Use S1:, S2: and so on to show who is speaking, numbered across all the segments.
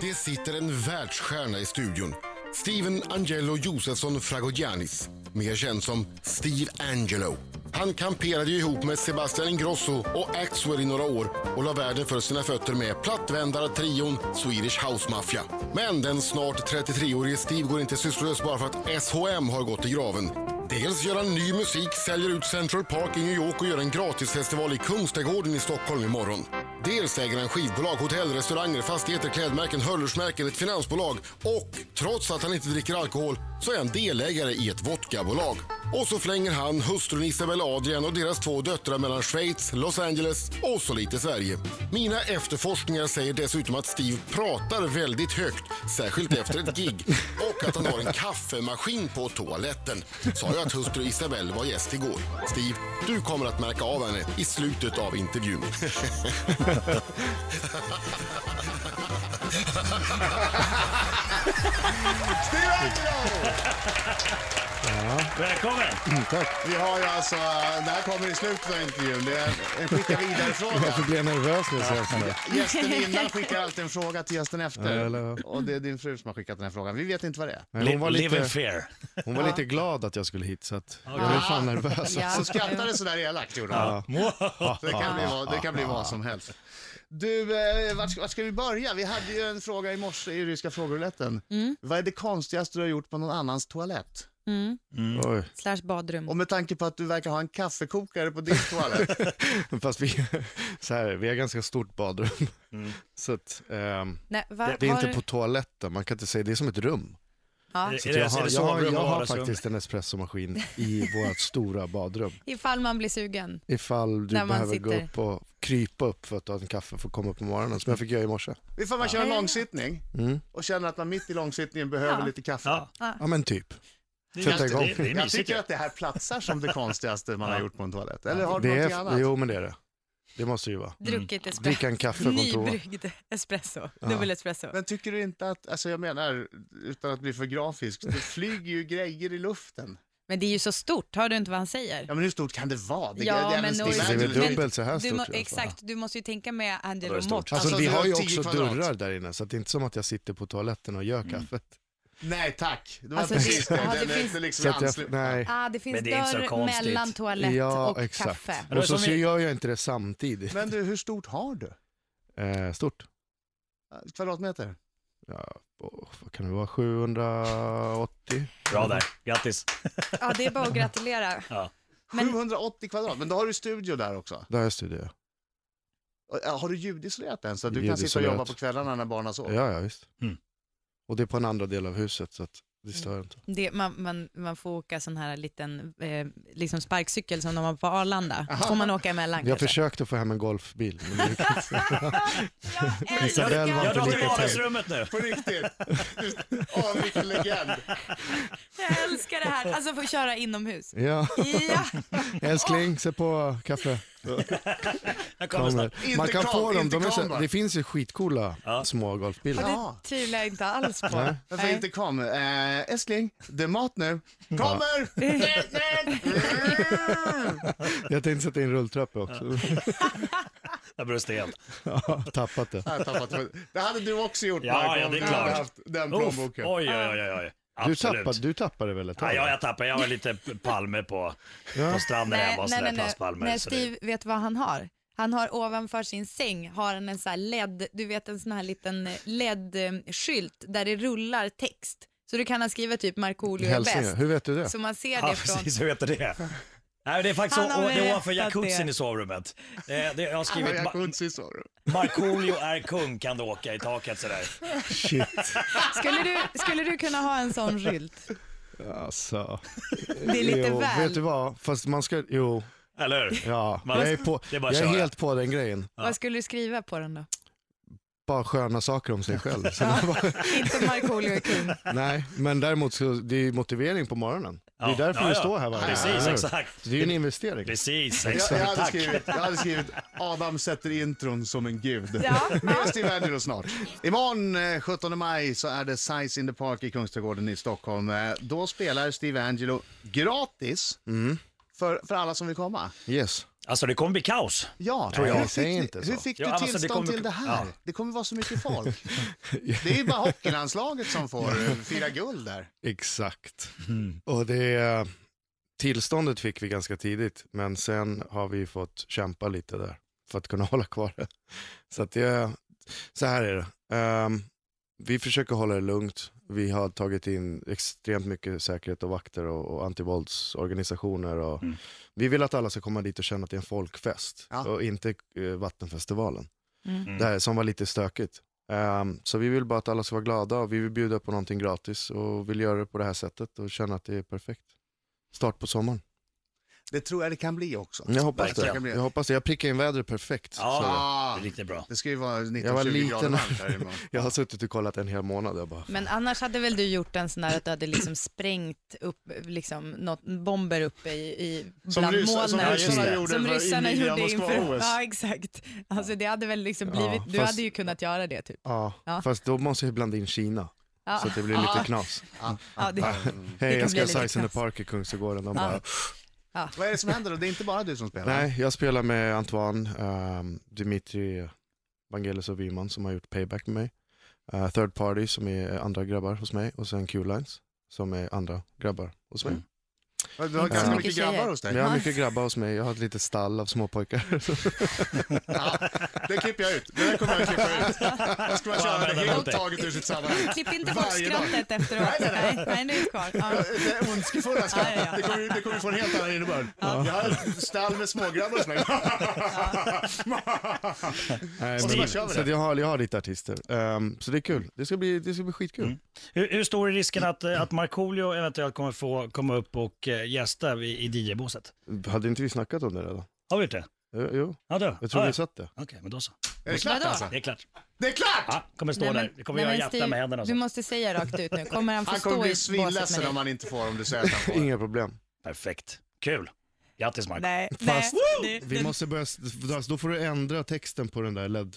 S1: Det sitter en världsstjärna i studion. Steven Angelo Josefsson Fragogianis, mer känd som Steve Angelo. Han kamperade ju ihop med Sebastian Ingrosso och Axwell i några år och la världen för sina fötter med plattvändartrion Swedish House Mafia. Men den snart 33-årige Steve går inte sysslolös bara för att SHM har gått i graven. Dels gör han ny musik, säljer ut Central Park i New York och gör en gratisfestival i Kungsträdgården i Stockholm imorgon. Dels äger han skivbolag, hotell, restauranger, fastigheter, klädmärken, hörlursmärken, ett finansbolag och trots att han inte dricker alkohol så är han delägare i ett vodkabolag. Och så flänger han hustrun Isabella Adrian och deras två döttrar mellan Schweiz, Los Angeles och så lite Sverige. Mina efterforskningar säger dessutom att Steve pratar väldigt högt, särskilt efter ett gig och att han har en kaffemaskin på toaletten. Sa jag att hustru Isabelle var gäst igår. Steve, du kommer att märka av henne i slutet av intervjun.
S2: Välkommen!
S3: Vi har ju alltså, det här kommer i slutet av intervjun, det är en skicka
S4: Jag får
S3: vidare-fråga.
S4: bli nervös när jag ser sådana där.
S3: Gästen innan skickar alltid en fråga till gästen
S4: Ja,
S3: efter.
S4: eller hur?
S3: Och det är din fru som har skickat den här frågan, vi vet inte vad det är.
S4: Men Hon var,
S2: Li- Live in
S4: lite,
S2: fear.
S4: hon var lite glad att jag skulle hit så att jag är fan nervös.
S5: Ja.
S3: Så skrattade sådär elakt gjorde hon. Så Det kan bli, vad- det kan bli vad som helst. Du, eh, vart ska, vart ska vi börja? Vi hade ju en fråga i morse i ryska frågerouletten. Vad är det konstigaste du har gjort på någon annans toalett?
S4: Mm. Oj.
S5: Slash badrum.
S3: Och med tanke på att du verkar ha en kaffekokare på din toalett.
S4: Fast vi, så här, vi har ganska stort badrum.
S3: Mm.
S4: Så att, ehm,
S5: Nej, va,
S4: det är
S5: var-
S4: inte på toaletten, man kan inte säga, det är som ett rum.
S5: ja,
S4: Så att jag har, jag, har-
S2: sovrum
S4: jag
S2: och
S4: har
S2: vardagsrum?
S4: faktiskt en espressomaskin i vårt stora badrum.
S5: Ifall man blir
S4: Mm.
S5: sugen.
S4: Ifall du
S5: När man
S4: behöver gå
S5: sitter.
S4: upp och krypa upp för att ta en kaffe för att komma upp på morgonen, som jag fick göra i morse. Mm.
S3: Ifall man kör en långsittning och känner att man mitt i långsittningen behöver
S5: Ja.
S3: lite kaffe.
S2: Ja,
S4: Ja men typ.
S2: det
S4: Sätta igång.
S2: det, det är
S3: Jag
S2: mysigt.
S3: tycker
S2: ju.
S3: att det här platsar som det konstigaste man har gjort på en toalett. Eller har du
S4: Det
S3: någonting
S4: är,
S3: annat?
S4: jo men det är det. Det måste ju vara.
S5: Druckit espresso.
S4: Dricka en kaffe på en toa.
S5: Nybryggd espresso. Dubbel espresso.
S3: Men tycker du inte att, alltså jag menar, utan att bli för grafisk, det flyger ju grejer i luften.
S5: Men det är ju så stort, hör du inte vad han säger?
S3: Ja men hur stort kan det vara? Det,
S5: Ja,
S3: det är
S5: men
S3: men
S5: då är
S4: Det är väl
S5: Men
S4: dubbelt så här
S5: du
S4: stort.
S5: må,
S4: i alla fall.
S5: exakt, du måste ju tänka med
S2: Ja, det är
S5: Angelo
S2: stort.
S5: Mått.
S4: Alltså,
S3: Alltså,
S4: vi
S3: det
S4: har
S3: är
S4: ju
S3: 10
S4: också
S3: kvadrat.
S4: dörrar där inne, så att det är inte som att jag sitter på toaletten och gör kaffet.
S3: Nej tack, det var
S5: Alltså,
S3: precis
S5: det-
S3: det.
S5: ja,
S3: Det,
S5: det
S3: det,
S5: finns-
S3: det liksom
S4: Så att
S3: anslut-
S4: jag, nej.
S5: Ah, det finns
S2: Men det är inte så
S5: dörr
S2: konstigt.
S5: mellan toalett
S4: Ja,
S5: och
S4: exakt.
S5: kaffe.
S2: det var
S4: Och så,
S2: som
S4: så
S2: vi-
S4: gör jag inte det samtidigt.
S3: Men du, hur stort har du?
S4: Eh, stort.
S3: Kvadratmeter?
S4: Ja, åh, vad kan det vara? 780?
S2: Bra där, grattis.
S5: Ja, det är bara att gratulera.
S2: Ja.
S5: Men-
S3: 780 kvadrat, men då har du studio där också.
S4: Där är studio.
S3: Och, ja, Har du ljudisolerat den så att du kan sitta och
S4: Ljudisolerat.
S3: jobba på kvällarna när barnen sover?
S4: Ja, ja visst.
S2: Mm.
S4: Och det är på en andra del av huset, så att det stör inte.
S5: Det, man, man, man får åka sån här liten eh, liksom sparkcykel som de har på Arlanda. Får man åka emellan
S4: Jag
S5: kanske?
S4: försökte få hem en golfbil. Men det,
S5: Jag
S4: Isabel var
S5: älskar-
S2: Jag
S4: inte
S2: drar till
S4: lika trevlig.
S2: vardagsrummet nu.
S3: På riktigt? Åh, vilken legend.
S5: Jag älskar det här. Alltså få köra inomhus.
S4: Ja,
S5: Ja,
S4: älskling, se på kaffe.
S2: Jag kommer snart.
S4: Kommer. Man kan
S3: Inte
S4: få
S3: kram,
S4: dem,
S3: inte
S4: de är
S3: kram
S4: så,
S3: bara.
S4: det finns ju skitcoola små
S5: och
S4: golfbilar.
S3: Ja.
S5: det tvivlar jag inte alls på.
S4: Nej.
S3: Varför
S5: Nej.
S3: inte kom? Eh, Älskling, det är mat nu. Kommer!
S4: Jag tänkte sätta in rulltrappor också.
S2: Jag bröstar igen.
S4: Ja, tappat det.
S3: Jag har tappat det. det hade du också gjort
S2: Ja,
S3: Marco,
S2: ja,
S3: om
S2: det är
S3: du hade
S2: klart.
S3: haft den
S2: Uff, oj,
S3: plånboken.
S2: oj, oj, oj.
S4: Du
S2: Absolut.
S4: tappade, du tappade väl ett
S2: Ja,
S4: tag?
S2: ja, jag tappade. Jag var lite p- palme på,
S4: Ja.
S2: på stranden
S5: Nej,
S2: hemma och
S5: nej,
S2: sådär, Alltså,
S5: nej, nej.
S2: plastpalmer.
S5: nej,
S2: så
S5: Steve vet vad han har. Han har ovanför sin säng har han en sån här LED, du vet en sån här liten eh, LED-skylt där det rullar text. Så du kan ha skrivit typ Markoolio är
S4: Hälsningar,
S5: bäst.
S4: hur vet du det?
S5: Så man ser
S2: det, ja,
S5: det från...
S2: precis. Hur heter det? Nej, det är faktiskt
S5: Han har
S2: o- det är
S5: berättat
S2: ovanför jacuzzin
S5: det.
S2: i sovrummet. Eh, det, jag har
S3: Ja,
S2: skrivit
S3: jag
S2: Ma-
S3: kunde se så.
S2: Markoolio är kung kan du åka i taket sådär.
S4: Shit.
S5: Skulle, du, skulle du kunna ha en sån skylt?
S4: Alltså.
S5: Det är lite
S4: jo,
S5: väl.
S4: Vet du vad? Fast man ska, jo,
S2: Eller hur?
S4: ja.
S2: Man-
S4: jag är, på,
S2: det är bara
S4: jag
S2: att
S4: är
S2: köra.
S4: helt på den grejen.
S5: Vad skulle du skriva på den då?
S4: Bara sköna saker om sig själv. Sen bara,
S5: Inte Markoolio är kung.
S4: nej, men däremot så, det är ju motivering på morgonen. Det
S2: Ja,
S4: är därför
S2: ja,
S4: vi
S2: ja.
S4: står här varje dag,
S2: Precis,
S4: eller hur?
S2: exakt.
S4: Så Det är ju en investering.
S2: Precis,
S3: Jag, jag,
S2: exakt.
S3: hade
S2: Tack.
S3: skrivit, jag hade skrivit Adam sätter intron som en gud.
S5: Ja.
S3: Mer Steve Angelo snart. Imorgon eh, 17 maj så är det Size in the Park i Kungsträdgården i Stockholm. Eh,
S2: Mm.
S3: Då spelar Steve Angelo gratis för, för alla som vill komma.
S4: Yes.
S2: Alltså det kommer bli kaos.
S3: Ja,
S4: Tror jag.
S3: Hur
S4: Säg
S3: fick,
S4: inte
S3: du-
S4: så.
S3: hur fick du
S2: Ja, alltså, det
S3: tillstånd
S2: kommer-
S3: till det här?
S2: ja.
S3: Det kommer vara så mycket folk. Det är ju bara hockeylandslaget som får eh, fira guld där.
S4: Exakt. Och det, tillståndet fick vi ganska tidigt, men sen har vi fått kämpa lite där för att kunna hålla kvar det. Så, att det, så här är det. Ehm, vi försöker hålla det lugnt. Vi har tagit in extremt mycket säkerhet och vakter och, och antivåldsorganisationer. Och
S2: Mm.
S4: Vi vill att alla ska komma dit och känna att det är en folkfest
S3: Ja.
S4: och inte eh, Vattenfestivalen
S5: Mm.
S4: det här, som var lite stökigt. Ehm, så vi vill bara att alla ska vara glada och vi vill bjuda på någonting gratis och vill göra det på det här sättet och känna att det är perfekt. Start på sommaren.
S3: Det tror jag det kan bli också.
S4: Jag hoppas det.
S3: Verkligen.
S4: Jag hoppas det. Jag prickar in vädret perfekt.
S2: Ja.
S4: Så
S3: Ah,
S2: Det är riktigt bra.
S3: det ska ju vara
S4: Jag var
S3: 19-20
S4: liten.
S3: grader varmt där imorgon.
S4: jag har suttit och kollat en hel månad. Jag bara,
S5: Men annars hade väl du gjort en sån där att du hade liksom sprängt upp liksom något, bomber uppe i, i
S3: Som
S5: bland
S3: rys- som
S5: molnen.
S3: ryssarna gjorde
S5: som
S3: för
S5: ryssarna
S3: inviga
S5: gjorde
S3: Moskva
S5: inför.
S3: OS.
S5: Ja, exakt. Alltså det hade väl liksom
S4: Ja,
S5: blivit, du
S4: fast-
S5: hade ju kunnat göra det typ.
S4: ja.
S5: Ja.
S4: Fast då måste jag blanda in Kina.
S5: Ja.
S4: Så att det blir
S5: Ja.
S4: lite knas.
S3: Ah,
S5: Ja, det,
S3: mm.
S4: Hej,
S5: kan
S4: jag
S5: bli
S4: ska
S5: lite
S4: Size in the
S5: knas.
S4: Park i Kungsgården. De
S5: Ja.
S4: bara,
S3: Vad är det som händer då? Det är inte bara du som spelar?
S4: Nej, jag spelar med Antoine, ehm, Dimitri Vangelis och Wyman som har gjort Payback med mig. Eh, Third Party som är andra grabbar hos mig och sen Q-Lines som är andra grabbar hos mig.
S2: Mm.
S3: Du har
S5: Inte
S4: så
S3: ganska
S4: mycket
S3: mycket
S5: tjejer.
S3: grabbar hos dig.
S4: Men jag har mycket grabbar hos mig, jag har ett litet stall av småpojkar.
S3: Ja, det klipper jag ut. Det där kommer jag att klippa ut. Jag ska man
S2: Ja,
S3: köra
S2: men,
S3: det
S2: men,
S3: helt
S2: men.
S3: taget ur sitt sammanhang.
S5: Klipp inte bort
S3: Varje dag.
S5: skrattet efteråt.
S3: Nej, nej,
S5: nej. nej, nu är det kvar. Ja.
S3: Det ondskefulla
S5: Ja, ja,
S3: skrattet,
S5: ja.
S3: det kommer, ju- det kommer ju få en helt annan innebörd. Jag har ett stall med smågrabbar hos mig.
S4: Nej,
S3: Och så
S4: men-
S3: bara kör vi
S4: så att
S3: det.
S4: jag har, jag har lite artister. Ehm, så det är kul, det ska bli, det ska bli skitkul.
S2: Hur, hur stor är risken att, eh, att Markoolio eventuellt kommer få komma upp och eh, gästa i, i DJ-båset?
S4: Hade inte vi snackat om det redan?
S2: Har vi gjort det?
S4: Jo, Jo,
S2: Ja, då.
S4: jag tror
S2: ja,
S4: vi satt det.
S2: Okej, men då så.
S3: Är det klart
S5: Vadå?
S3: alltså?
S2: Det är klart.
S3: Det är klart!
S2: Ja, kommer stå där. Det kommer
S5: nej,
S2: göra
S5: men
S2: hjärta
S5: Steve,
S2: med händerna. och
S5: Du
S2: så.
S5: måste säga rakt ut nu. Kommer han få
S3: Han
S5: stå
S3: kommer
S5: i
S3: bli
S5: båset med
S3: svinledsen
S5: dig?
S3: om han inte får, om du säger att han får.
S4: Inga problem.
S2: Perfekt. Kul. Grattis Marko.
S5: Nej,
S4: Fast-
S5: nej.
S4: Vi måste börja, s- då får du ändra texten på den där LED.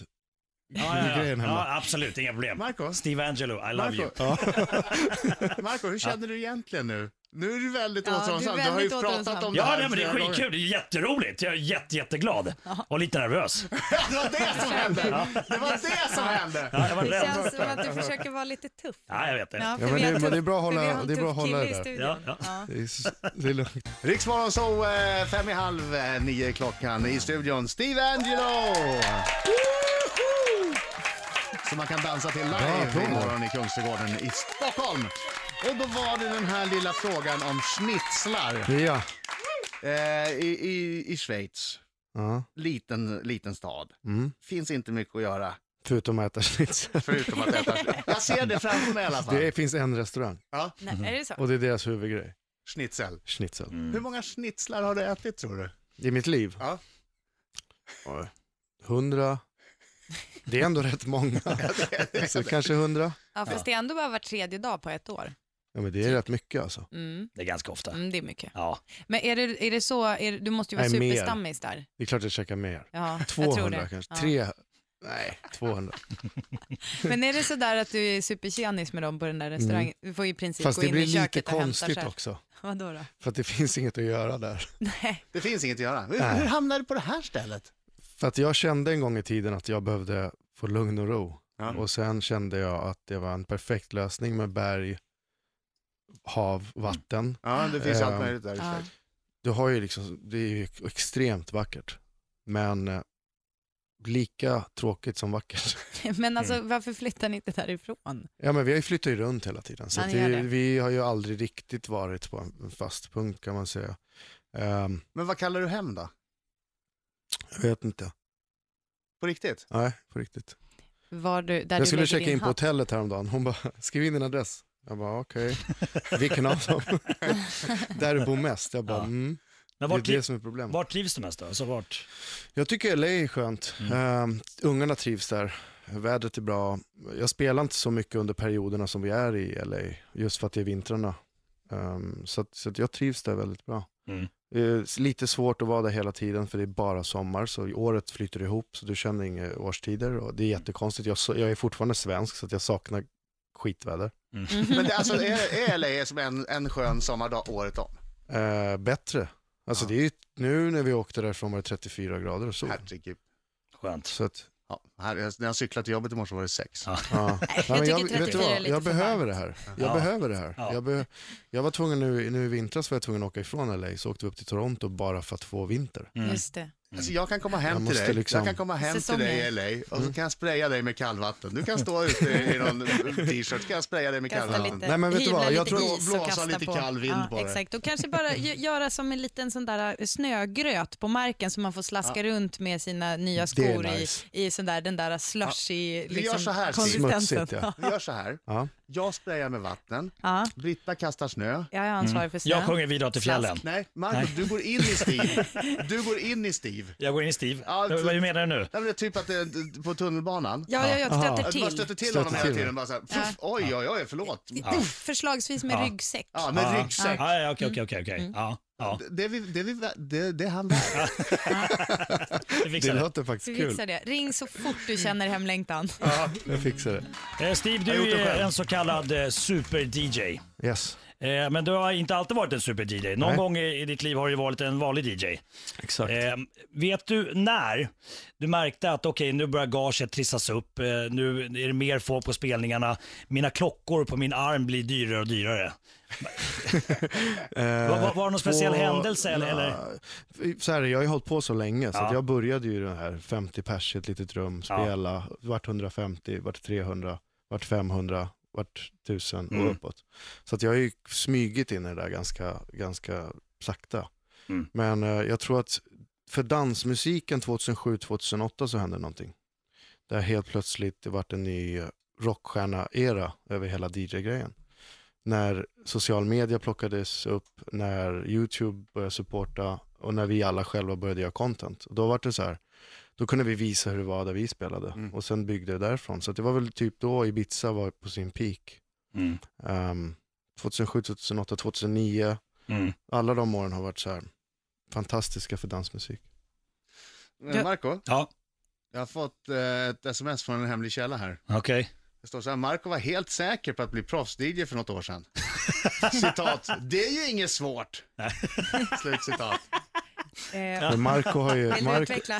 S2: Ja, ja, ja.
S4: Grejen hemma.
S2: ja, absolut. Inga problem.
S3: Marco,
S2: Steve Angelo, I love
S3: Marco,
S2: you.
S3: Marco, hur känner du egentligen nu? Nu är du väldigt
S5: Ja, du är
S3: återhållsam. Du har ju
S5: väldigt
S3: pratat
S5: återhållsam.
S3: om det
S2: Ja,
S3: här
S2: nej, men det är
S3: flera gånger.
S2: skitkul. Det är jätteroligt. Jag är jätte, jätteglad. Och lite nervös.
S3: Det var det som hände! Det var det som hände!
S2: Ja, jag var
S5: Det
S2: rädd.
S5: känns som att du försöker vara lite tuff.
S2: Ja, jag vet det.
S5: Ja, för
S4: Ja, men
S5: vi
S4: det-
S5: har
S4: men
S5: tuff-
S4: det är bra att
S5: för vi
S4: hålla-
S5: har en
S4: det är bra
S5: tuff
S4: att hålla det
S5: kille i
S4: där.
S5: studion.
S2: Ja, ja.
S5: Ja.
S4: Det är, s- det är lugnt.
S3: Riksmorgon så eh, fem i halv eh, nio är klockan i studion. Steve Angelo! Som man kan dansa till live
S4: applåder.
S3: imorgon i Kungsträdgården i Stockholm. Och då var det den här lilla frågan om schnitzlar
S4: Ja.
S3: eh, i, i, i Schweiz.
S4: ja.
S3: Liten, liten stad.
S4: Mm.
S3: Finns inte mycket att göra.
S4: Förutom att äta schnitzel.
S3: Förutom att äta schnitzel. Jag ser det framför mig i alla fall.
S4: Det finns en restaurang
S3: Ja,
S5: Nej, är det så?
S2: Mm.
S4: och det är deras huvudgrej,
S3: schnitzel.
S4: schnitzel.
S3: Hur många schnitzlar har du ätit tror du?
S4: I mitt liv?
S3: Ja.
S4: Oj. Hundra. Det är ändå rätt många. Så kanske hundra.
S5: Ja, fast det är ändå bara var tredje dag på ett år.
S4: Ja, men det är rätt mycket alltså.
S5: Typ. Mm,
S2: Det är ganska ofta.
S5: mm, det är mycket.
S2: Ja.
S5: Men är det, är det så, är, det- du måste ju vara
S4: Nej, mer.
S5: superstammis där.
S4: Det är klart jag käkar mer.
S5: Ja, jag tror
S4: 200
S5: det.
S4: kanske.
S5: Ja.
S4: Tre. Nej, 200.
S5: Men är det så där att du är supertjenis med dem på den där restaurangen? Du får ju i princip
S4: Mm. Fast
S5: Typ gå
S4: det
S5: in i
S4: blir lite
S5: köket och hämta
S4: konstigt
S5: själv.
S4: också.
S5: Vadå då?
S4: För att det finns inget att göra där.
S5: Nej.
S3: Det finns inget att göra. Hur,
S4: Nej.
S3: hur hamnade du på det här stället?
S4: För att jag kände en gång i tiden att jag behövde få lugn och ro. Och sen kände jag att det var en perfekt lösning med berg, hav,
S5: Mm.
S4: vatten.
S3: Ja, det finns allt
S4: Ehm,
S3: möjligt där i
S5: Ja.
S3: Schweiz.
S4: Du har ju liksom, det är ju extremt vackert. Men eh, lika tråkigt som vackert.
S5: Men alltså
S4: Mm.
S5: varför flyttar ni inte därifrån?
S4: Ja men vi har ju flyttat ju runt hela tiden. Så
S5: Ja,
S4: att
S5: ni gör
S4: det,
S5: det.
S4: vi har ju aldrig riktigt varit på en fast punkt kan man säga. Ehm,
S3: Men vad kallar du hem då?
S4: jag vet inte.
S3: På riktigt?
S4: Nej, på riktigt.
S5: Var du, där du
S4: jag skulle
S5: lägger
S4: checka
S5: din
S4: in på
S5: hatt?
S4: hotellet häromdagen. Hon bara, skriv in din adress. Jag bara, okej. Vilken av dem? Där du bor mest. Jag bara,
S2: Ja.
S4: mm.
S2: Men
S4: Det är
S2: vart,
S4: det
S2: tri-
S4: som är problemet.
S2: vart trivs du mest då? Alltså vart?
S4: Jag tycker LA är skönt. Ehm, ungarna trivs där. Vädret är bra. Jag spelar inte så mycket under perioderna som vi är i LA, just för att det är vintrarna. Ehm, så att, så att jag trivs där väldigt bra.
S2: Mm.
S4: Eh, lite svårt att vara där hela tiden för det är bara sommar, så året flyter ihop så du känner inga årstider och det är jättekonstigt. Jag, så- jag är fortfarande svensk så att jag saknar skitväder.
S2: Mm,
S5: Mm.
S3: Men det, alltså, är, är LA som en, en skön sommardag året om?
S4: Eh, bättre Alltså det är ju, nu när vi åkte därifrån var det 34 grader och sol.
S3: Herregud.
S2: Skönt.
S4: Så att,
S3: Ja, här, när jag cyklade till jobbet i morse var det sex.
S2: Ja.
S4: ja.
S5: Nej,
S4: Nej,
S5: jag
S4: men
S5: tycker 34
S4: vet du vad?
S5: är lite
S4: jag
S5: för
S4: behöver
S5: varmt.
S4: det här. Jag
S2: Ja.
S4: behöver det här.
S2: Ja.
S4: Jag, be, jag var tvungen nu, nu i vintras var jag tvungen att åka ifrån LA, så åkte vi upp till Toronto bara för att få vinter.
S2: Mm.
S5: Just det.
S3: Alltså, jag kan komma hem
S4: Jag
S3: till
S4: måste
S3: dig,
S4: liksom- Mm.
S3: jag kan komma hem till dig i LA och så kan jag spraya dig med kallvatten. Du kan stå ute i någon t-shirt, så kan jag spraya dig med
S5: Kasta
S3: kallvatten.
S5: lite,
S4: Nej, men vet du
S5: hyvla
S4: vad? Jag
S5: lite
S4: tror-
S5: is och
S3: blåsa
S5: kasta
S3: lite
S5: på.
S3: kall vind
S5: ja,
S3: på det.
S5: Exakt, och kanske bara gö- göra som en liten sån där eh, snögröt på marken som man får slaska runt med sina nya
S4: Det är
S5: skor
S4: nice.
S5: i, i sån där, den där slushy
S3: Vi gör
S5: liksom,
S3: så här, Steve.
S5: konsistensen.
S4: Smutsigt, ja.
S3: Vi gör så här,
S4: Ja.
S3: jag sprayar med vatten,
S5: Ja,
S3: Britta kastar snö.
S5: jag är ansvarig för snö.
S2: Mm. Jag sjunger Vi drar till fjällen.
S3: Nej, Marco, du går in i Steve. Du går in i Steve.
S2: Jag går in i Steve.
S3: Ja,
S2: Vad- Vad menar du nu?
S3: Nej, men det är typ att det är på tunnelbanan.
S5: Ja, jag, jag stöter
S3: Att du bara
S5: till.
S3: stöter till
S4: Stöter
S3: honom hela
S4: till.
S3: tiden. Bara så här, puff, oj, oj, oj, förlåt.
S5: Förslagsvis med ryggsäck.
S3: Ja, med
S2: Ja.
S3: ryggsäck.
S2: Ja, ja, okej, okej, okej, okej. Ja, ja.
S3: Det är, vi, det, är vi, det, det är han värd.
S2: Vi
S4: Det
S2: fixar det.
S4: låter faktiskt
S5: Vi
S4: kul.
S5: fixar det. Ring så fort du känner hemlängtan.
S4: Jag fixar det.
S2: Eh, Steve,
S3: Jag har
S2: du
S3: gjort det
S2: är
S3: själv.
S2: en så kallad eh, super-DJ.
S4: Yes,
S2: Eh, Men du har inte alltid varit en super-DJ. Någon
S4: Nej.
S2: gång i i ditt liv har du varit en vanlig DJ.
S4: exakt.
S2: Eh, vet du när du märkte att okej, nu börjar gaget trissas upp, eh, nu är det mer folk på spelningarna, mina klockor på min arm blir dyrare och dyrare.
S4: Eh,
S2: Var- var- var det någon speciell händelse, eller-
S4: Ja,
S2: eller?
S4: Så här, jag har ju hållit på så länge så
S2: Ja.
S4: att jag började ju det här 50 pers i ett litet rum, spela, vart 150, vart 300, vart 500, vart 1000
S2: Mm.
S4: och uppåt. Så att jag har ju smygit in i det där ganska, ganska sakta.
S2: Mm.
S4: Men eh, jag tror att för dansmusiken 2007-2008 så hände någonting. Där helt plötsligt det vart en ny rockstjärna-era över hela DJ-grejen när social media plockades upp, när YouTube började supporta och när vi alla själva började göra content. Och då var det så här, då kunde vi visa hur det var där vi spelade
S3: Mm.
S4: och sen byggde det därifrån. Så att det var väl typ då Ibiza var på sin peak.
S2: Mm.
S4: Ehm, 2007, 2008, 2009.
S2: Mm.
S4: Alla de åren har varit så här fantastiska för dansmusik.
S3: Men Eh, Marco,
S2: Ja,
S3: jag har fått eh, ett sms från en hemlig källa här.
S2: okej.
S3: Det står så här, Marco var helt säker på att bli proffs-DJ för något år sedan. Citat, det är ju inget svårt. Slut citat.
S5: Eh,
S4: Men Marco har ju,
S5: vill du
S4: Marco,
S5: utveckla?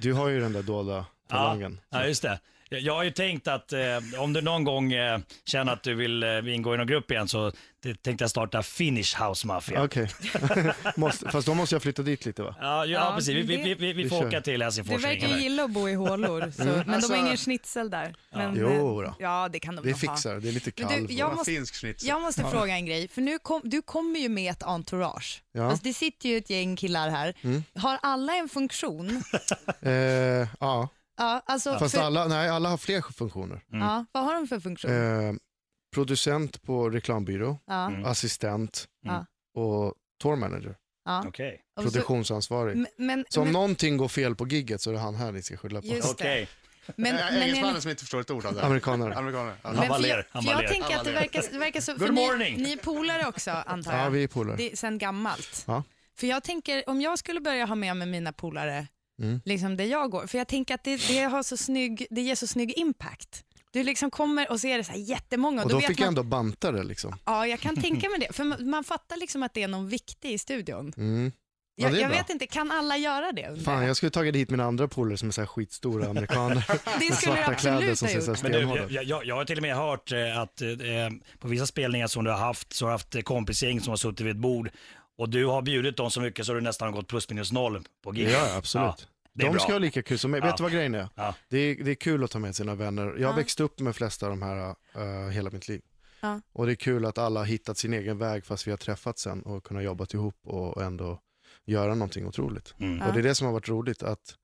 S4: du har ju den där dolda talangen.
S2: Ja, just det. Jag- Jag har ju tänkt att eh, om du någon gång eh, känner att du vill eh, ingå i någon grupp igen så t- tänkte jag starta Finish House Mafia.
S4: Okej, Måste- fast då måste jag flytta dit lite va?
S2: Ja, ja,
S5: Ja,
S2: precis. Vi, vi, vi, vi, vi
S4: Vi
S2: får
S4: kör.
S2: åka till
S5: Du
S2: Helsingfors.
S5: verkar
S2: ringa
S5: ju
S2: där.
S5: gilla att bo i hålor, så, men
S3: Alltså-
S5: de har ingen schnitzel där. Men, eh,
S4: Jo då.
S5: Ja, det kan de
S4: Det
S5: nog ha.
S4: fixar, det är lite
S5: Men du,
S4: kalv.
S3: Det
S5: jag-
S3: var
S5: måste-
S3: finsk schnitzel.
S5: Jag måste fråga en grej, för nu kom, du kommer ju med ett entourage.
S4: Ja. Mm.
S5: Alltså, det sitter ju ett gäng killar här. Har alla en funktion?
S4: Eh, ja.
S5: ja, alltså,
S4: Fast
S5: för,
S4: alla, nej, alla har fler funktioner.
S5: ja, vad har de för funktion?
S4: Eh, producent på reklambyrå,
S5: ja,
S2: Mm.
S4: assistent
S5: Ja.
S4: och tourmanager,
S5: ja.
S2: Okej.
S5: Och så,
S4: produktionsansvarig.
S5: men, men,
S4: så om
S5: men,
S4: någonting går fel på gigget så är det han här ni ska skylla på.
S5: Just det.
S2: Okej.
S5: men,
S4: Eh,
S3: Äh,
S5: men,
S3: Engelsmannen
S5: men,
S3: som inte förstår ett ord av det här.
S4: Amerikanare.
S3: Amerikaner. Ja.
S2: Han bara
S5: för
S2: ler,
S5: jag,
S2: han
S5: för
S2: bara
S5: jag
S2: ler.
S5: tänker
S3: Han
S5: att det
S3: bara ler.
S5: verkar, det verkar så...
S2: Good
S5: för
S2: morning.
S5: Ni, ni är polare också, antar jag?
S4: Ja, vi är polare.
S5: Det är sen gammalt.
S4: Ja.
S5: För jag tänker, om jag skulle börja ha med mig mina polare,
S4: Mm.
S5: liksom där jag går, för jag tänker att det, det, har så snygg, det ger så snygg impact. Du liksom kommer och ser det så här jättemånga.
S4: Och då
S5: vet
S4: fick jag
S5: man,
S4: ändå banta det liksom.
S5: Ja, jag kan tänka mig det. För man, man fattar liksom att det är någon viktig i studion.
S4: Mm. Ja,
S5: Jag,
S4: det är
S5: jag
S4: bra.
S5: vet inte, kan alla göra det? undrar
S4: Fan,
S5: jag?
S4: jag skulle tagit hit mina andra polare som är så här skitstora amerikaner.
S5: Det skulle du
S4: Svarta kläder
S5: absolut
S4: som
S5: ha
S4: ser så
S5: gjort.
S4: här
S2: Men du,
S4: stenhårda
S2: jag,
S4: ut.
S2: jag, jag har till och med hört eh, att eh, på vissa spelningar som du har haft så har du haft eh, kompisgäng som har suttit vid ett bord och du har bjudit dem så mycket så du nästan har gått plus minus noll på gig.
S4: Ja, absolut.
S2: det är
S4: de
S2: bra.
S4: ska ha lika kul som mig.
S2: Ja.
S4: Vet du vad grejen är?
S2: Ja.
S4: Det, är? Det är kul att ta med sina vänner. Jag har växt upp med flesta av de här eh, hela mitt liv.
S5: Ja.
S4: Och det är kul att alla har hittat sin egen väg fast vi har träffats sen och kunnat jobba ihop och ändå göra någonting otroligt.
S2: Mm.
S4: Och det är det som har varit roligt att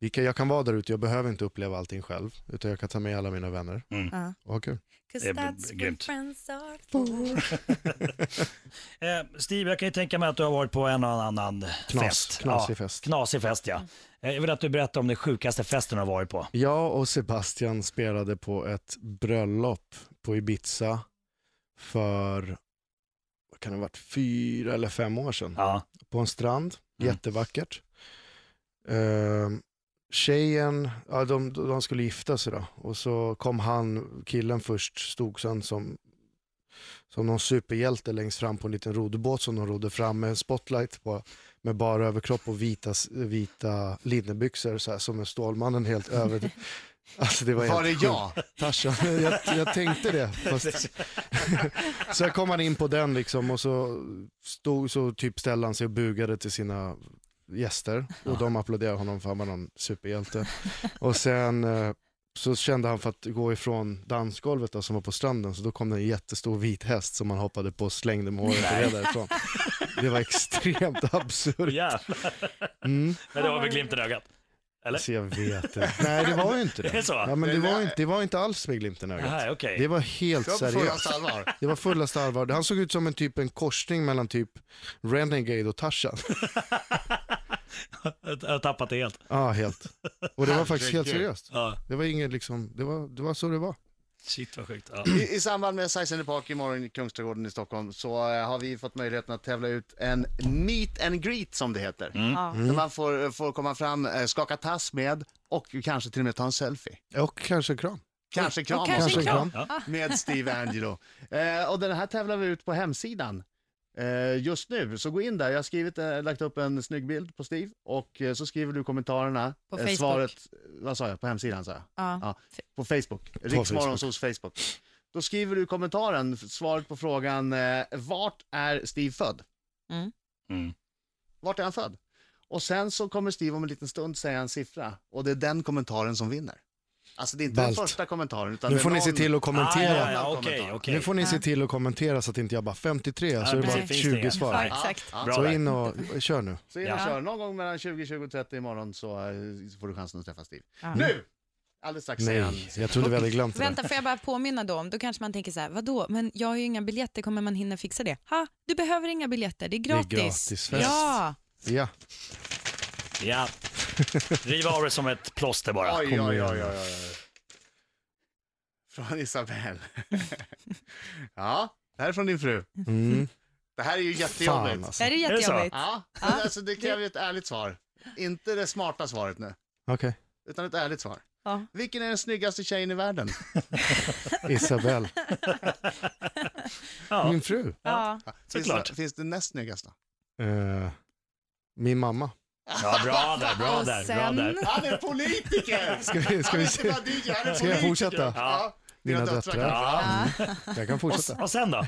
S4: vi kan, jag kan vara där ute, jag behöver inte uppleva allting själv utan jag kan ta med alla mina vänner
S2: Mm.
S5: Ja.
S4: och ha kul.
S5: 'Cause
S2: Det är
S5: that's what
S2: grymt.
S5: friends are for.
S2: Eh, Steve, jag kan ju tänka mig att du har varit på en och annan
S4: Knas,
S2: fest.
S4: knasig
S2: ja,
S4: fest.
S2: Knasig fest, ja. Eh, Jag vill att du berättar om den sjukaste festen du har varit på.
S4: Jag och Sebastian spelade på ett bröllop på Ibiza för, vad kan det ha varit, fyra eller fem år sedan.
S2: Ja.
S4: På en strand,
S2: Mm.
S4: jättevackert. Ehm, tjejen, ja, de, de skulle gifta sig då. Och så kom han, killen först, stod sen som, som någon superhjälte längst fram på en liten roddbåt som de rodde fram med spotlight på. med bara överkropp och vita, vita linnebyxor så här, som en Stålmannen helt över. Alltså det var,
S3: Var det
S4: helt
S3: jag?
S4: Tarzan. Jag, jag tänkte det. Fast... så jag kom han in på den liksom och så, stod, så typ ställde han sig och bugade till sina gäster och de applåderade honom för han var någon superhjälte. Och sen eh, så kände han för att gå ifrån dansgolvet då, som var på stranden så då kom det en jättestor vit häst som han hoppade på och slängde med håret och red därifrån. Det var extremt absurt.
S2: Jävlar.
S4: Mm.
S2: Men det var väl glimten i ögat? Eller?
S4: Så jag vet inte. Nej det var ju inte det.
S2: Är det så?
S4: Ja, men det, var inte, det var inte alls med glimten i ögat.
S2: Nej, okej.
S4: Det var helt
S3: Jag var på
S4: seriöst.
S3: fullaste allvar.
S4: Det var fullaste allvar. Han såg ut som en typ en korsning mellan typ Renegade och Tarzan.
S2: Jag har tappat det helt.
S4: Ja, helt. Och det var faktiskt helt
S3: Herregud.
S4: seriöst.
S2: Ja.
S4: Det var inget liksom, det var, det var så det var.
S2: Shit vad sjukt. Ja.
S3: I, I samband med Size and the Park imorgon i Kungsträdgården i Stockholm så eh, har vi fått möjligheten att tävla ut en meet and greet som det heter.
S4: Mm.
S5: Ja.
S3: Där man får, får komma fram, eh, skaka tass med och kanske till och med ta en selfie.
S4: Och kanske en kram.
S3: Kanske krama
S5: Och kanske
S4: Kanske
S5: en
S4: en
S5: kram.
S3: med Steve Angelo. Eh, och den här tävlar vi ut på hemsidan eh, just nu. Så gå in där. Jag har skrivit, eh, lagt upp en snygg bild på Steve och eh, så skriver du kommentarerna.
S5: På
S3: eh,
S5: Facebook.
S3: Svaret, vad sa jag? På hemsidan sa jag.
S5: Ja.
S3: Ja, på Facebook. Riksmorgonsols Facebook. Då skriver du kommentaren, f- svaret på frågan eh, vart är Steve född?
S2: Mm.
S3: Vart är han född? Och sen så kommer Steve om en liten stund säga en siffra och det är den kommentaren som vinner. Alltså det är inte
S4: Ballt.
S3: den första kommentaren utan
S4: Nu
S3: det är
S4: får ni
S3: någon...
S4: se till att
S2: Ah, ja,
S4: kommentera.
S2: ja, okej, okej.
S4: Nu får ni se till att kommentera så att inte jag bara 53 så är det bara
S2: precis, finns det
S4: 20
S2: igen.
S5: Ja,
S4: svar.
S2: Nej.
S5: exakt.
S3: Ja,
S2: Bra
S4: Så
S2: där.
S4: in och kör nu.
S3: Så in och
S2: Ja.
S3: kör. Någon gång mellan 20, 20 och 30 imorgon så eh, så får du chansen att träffa Steve.
S5: Ja.
S3: Nu! Alldeles strax säger han.
S4: Nej, jag trodde vi hade glömt det. där.
S5: Mm. Vänta, får jag bara påminna då om, då kanske man tänker så här, vadå, men jag har ju inga biljetter, kommer man hinna fixa det? Ha, du behöver inga biljetter, det är
S4: är
S5: gratis.
S4: gratisfest.
S5: Ja,
S4: Ja,
S2: Ja. Riva av det som ett plåster bara.
S3: Oj, oj,
S4: Kom
S3: oj,
S4: igen.
S3: oj, oj, oj. Från Isabel. ja, det här är från din fru.
S4: mm.
S3: Det här är ju
S4: fan
S3: jättejobbigt.
S5: det
S4: alltså.
S5: här är
S2: Är det så?
S5: jättejobbigt.
S3: Ja, men alltså det kräver ju ett ärligt svar. Inte det smarta svaret nu,
S4: Okej,
S3: utan ett ärligt svar.
S5: Ja.
S3: Vilken är den snyggaste tjejen i världen?
S4: Isabel.
S2: Ja,
S4: Min fru.
S5: Ja.
S2: såklart.
S3: Finns, finns det näst snyggaste?
S4: Eh, min mamma.
S2: Ja, bra där, bra där, bra där.
S3: Han är politiker!
S4: Ska vi, ska
S3: Han är
S4: vi
S3: inte
S4: se?
S3: bara DJ, han är
S4: Ska jag
S3: politiker.
S4: fortsätta?
S3: Ja.
S4: Mina
S3: Dina
S4: döttrar.
S3: döttrar.
S2: Ja.
S4: Jag kan
S2: Och,
S4: fortsätta.
S2: och sen då?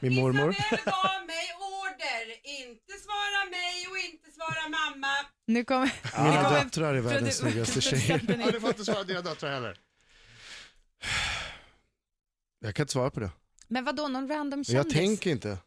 S4: Min mormor.
S6: Isabel gav mig order, inte svara mig och inte svara mamma.
S5: Nu kommer... nu
S4: Mina
S5: kommer
S4: döttrar är världens
S5: produ-
S4: snyggaste tjejer.
S5: producenten
S3: Ja,
S5: in.
S3: du får inte svara dina döttrar heller.
S4: Jag kan inte svara på det.
S5: Men vadå, någon random kändis?
S4: Jag tänker inte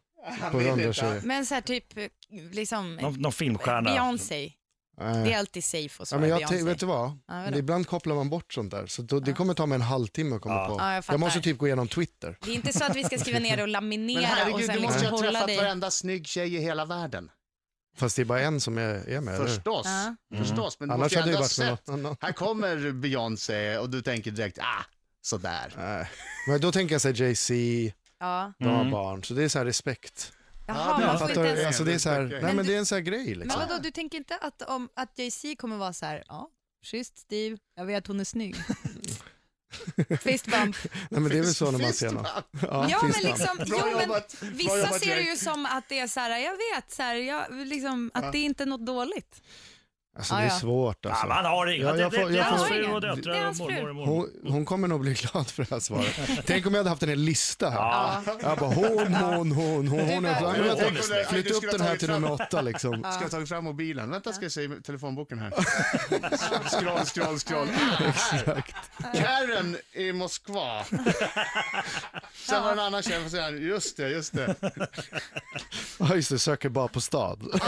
S4: på
S3: vill
S4: andra
S3: inte.
S4: tjejer.
S5: Men så här typ, liksom,
S2: Någon, någon filmstjärna?
S5: Beyoncé. Det är
S4: Nej.
S5: alltid safe att
S4: Ja,
S5: svara
S4: men jag
S5: Beyoncé.
S4: tänk- vet du vad?
S5: Ja, vadå?
S4: Ibland kopplar man bort sånt där. Så då, det kommer ta mig en halvtimme att komma
S2: Ja.
S4: på.
S5: Ja, jag
S4: jag,
S5: fattar.
S4: måste typ gå igenom Twitter.
S5: Det är inte så att vi ska skriva ner det och laminera
S3: Men
S5: och
S3: herregud,
S5: sen
S3: du måste ju ha
S5: liksom hålla
S3: träffat
S5: dig.
S3: varenda snygg tjej i hela världen.
S4: Fast det är bara en som är, är med. eller hur? Mm.
S3: Förstås,
S5: Ja.
S3: förstås. Men du
S4: Annars
S3: måste ju
S4: hade det
S3: ändå ha
S4: varit med
S3: sett.
S4: någon annan.
S3: Här kommer Beyoncé och du tänker direkt, ah, sådär.
S4: Nej. Men då tänker jag såhär Jay-Z,
S5: Ja.
S4: de har barn. Så det är så här respekt.
S5: Jaha,
S3: Ja,
S5: man får
S4: Fattar
S5: inte
S4: du?
S5: ens...
S4: Alltså det är så här,
S3: Okej.
S4: nej
S5: Men
S4: men
S5: du-
S4: det är en sån här grej
S5: Men
S4: liksom.
S5: vadå, du tänker inte att, om, att Jay-Z kommer vara så här, ja, schysst Steve, jag vet hon är snygg. Fist bump.
S4: Nej men det är väl så när man ser någon.
S3: Fist bump.
S5: Ja, men
S4: fist bump.
S5: liksom,
S3: Bra
S5: jo, men
S3: jobbat. Bra
S5: vissa
S3: jobbat,
S5: ser det
S3: Jake.
S5: ju som att det är så här, jag vet, så här, jag, liksom, att det är inte är något dåligt.
S4: Alltså
S5: Ja,
S4: det är
S5: ja.
S4: svårt
S2: Ja,
S4: alltså.
S2: man har inga.
S4: Ja,
S2: Det,
S4: jag
S2: det,
S4: får-
S2: det är
S4: jag
S2: hans
S5: får-
S2: fru och
S5: Det är
S2: döttrar och
S5: hans fru.
S2: mormor och mormor.
S4: Hon, hon kommer nog bli glad för det här svaret. Tänk om jag hade haft en hel lista här.
S2: Ja.
S4: Jag bara hon, hon, hon, hon, hon. är- Ja,
S5: bara-
S4: men
S2: Hon är
S4: vänta,
S3: snygg. Nej,
S4: Flytta
S3: du skulle
S4: upp den
S3: ha
S4: här
S3: tagit
S4: till
S3: fram-
S4: nummer åtta liksom.
S3: Ska jag ta fram mobilen? Vänta ska jag se i telefonboken här. Scroll, scroll, scroll. Ah, här. Karen i Moskva. Sen var det en annan tjej, och så säger han, just det, just det.
S4: Ja just det, söker bara på stad.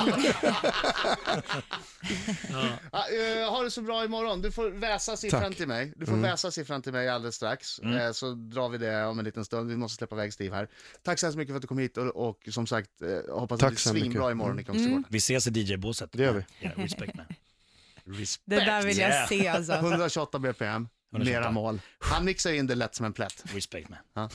S3: Ja, eh, ha det så bra imorgon. Du får väsa siffran
S4: Tack. Mm.
S3: till mig. Du får väsa siffran till mig alldeles strax. Eh, så drar vi det om en liten stund. Vi måste släppa iväg Steve här. Tack så hemskt mycket för att du kom hit och, och som sagt eh, hoppas
S4: Tack
S3: att det
S4: så
S3: blir
S4: mycket.
S3: svinbra imorgon i Kungsträdgården.
S2: Vi ses i DJ-båset.
S4: Det gör vi.
S2: Ja, respect man.
S3: Respect.
S5: Det där vill
S2: Yeah.
S5: jag se alltså.
S3: 128 bpm,
S2: 128.
S3: mera mål. Han mixar in det lätt som en plätt.
S2: Respect man.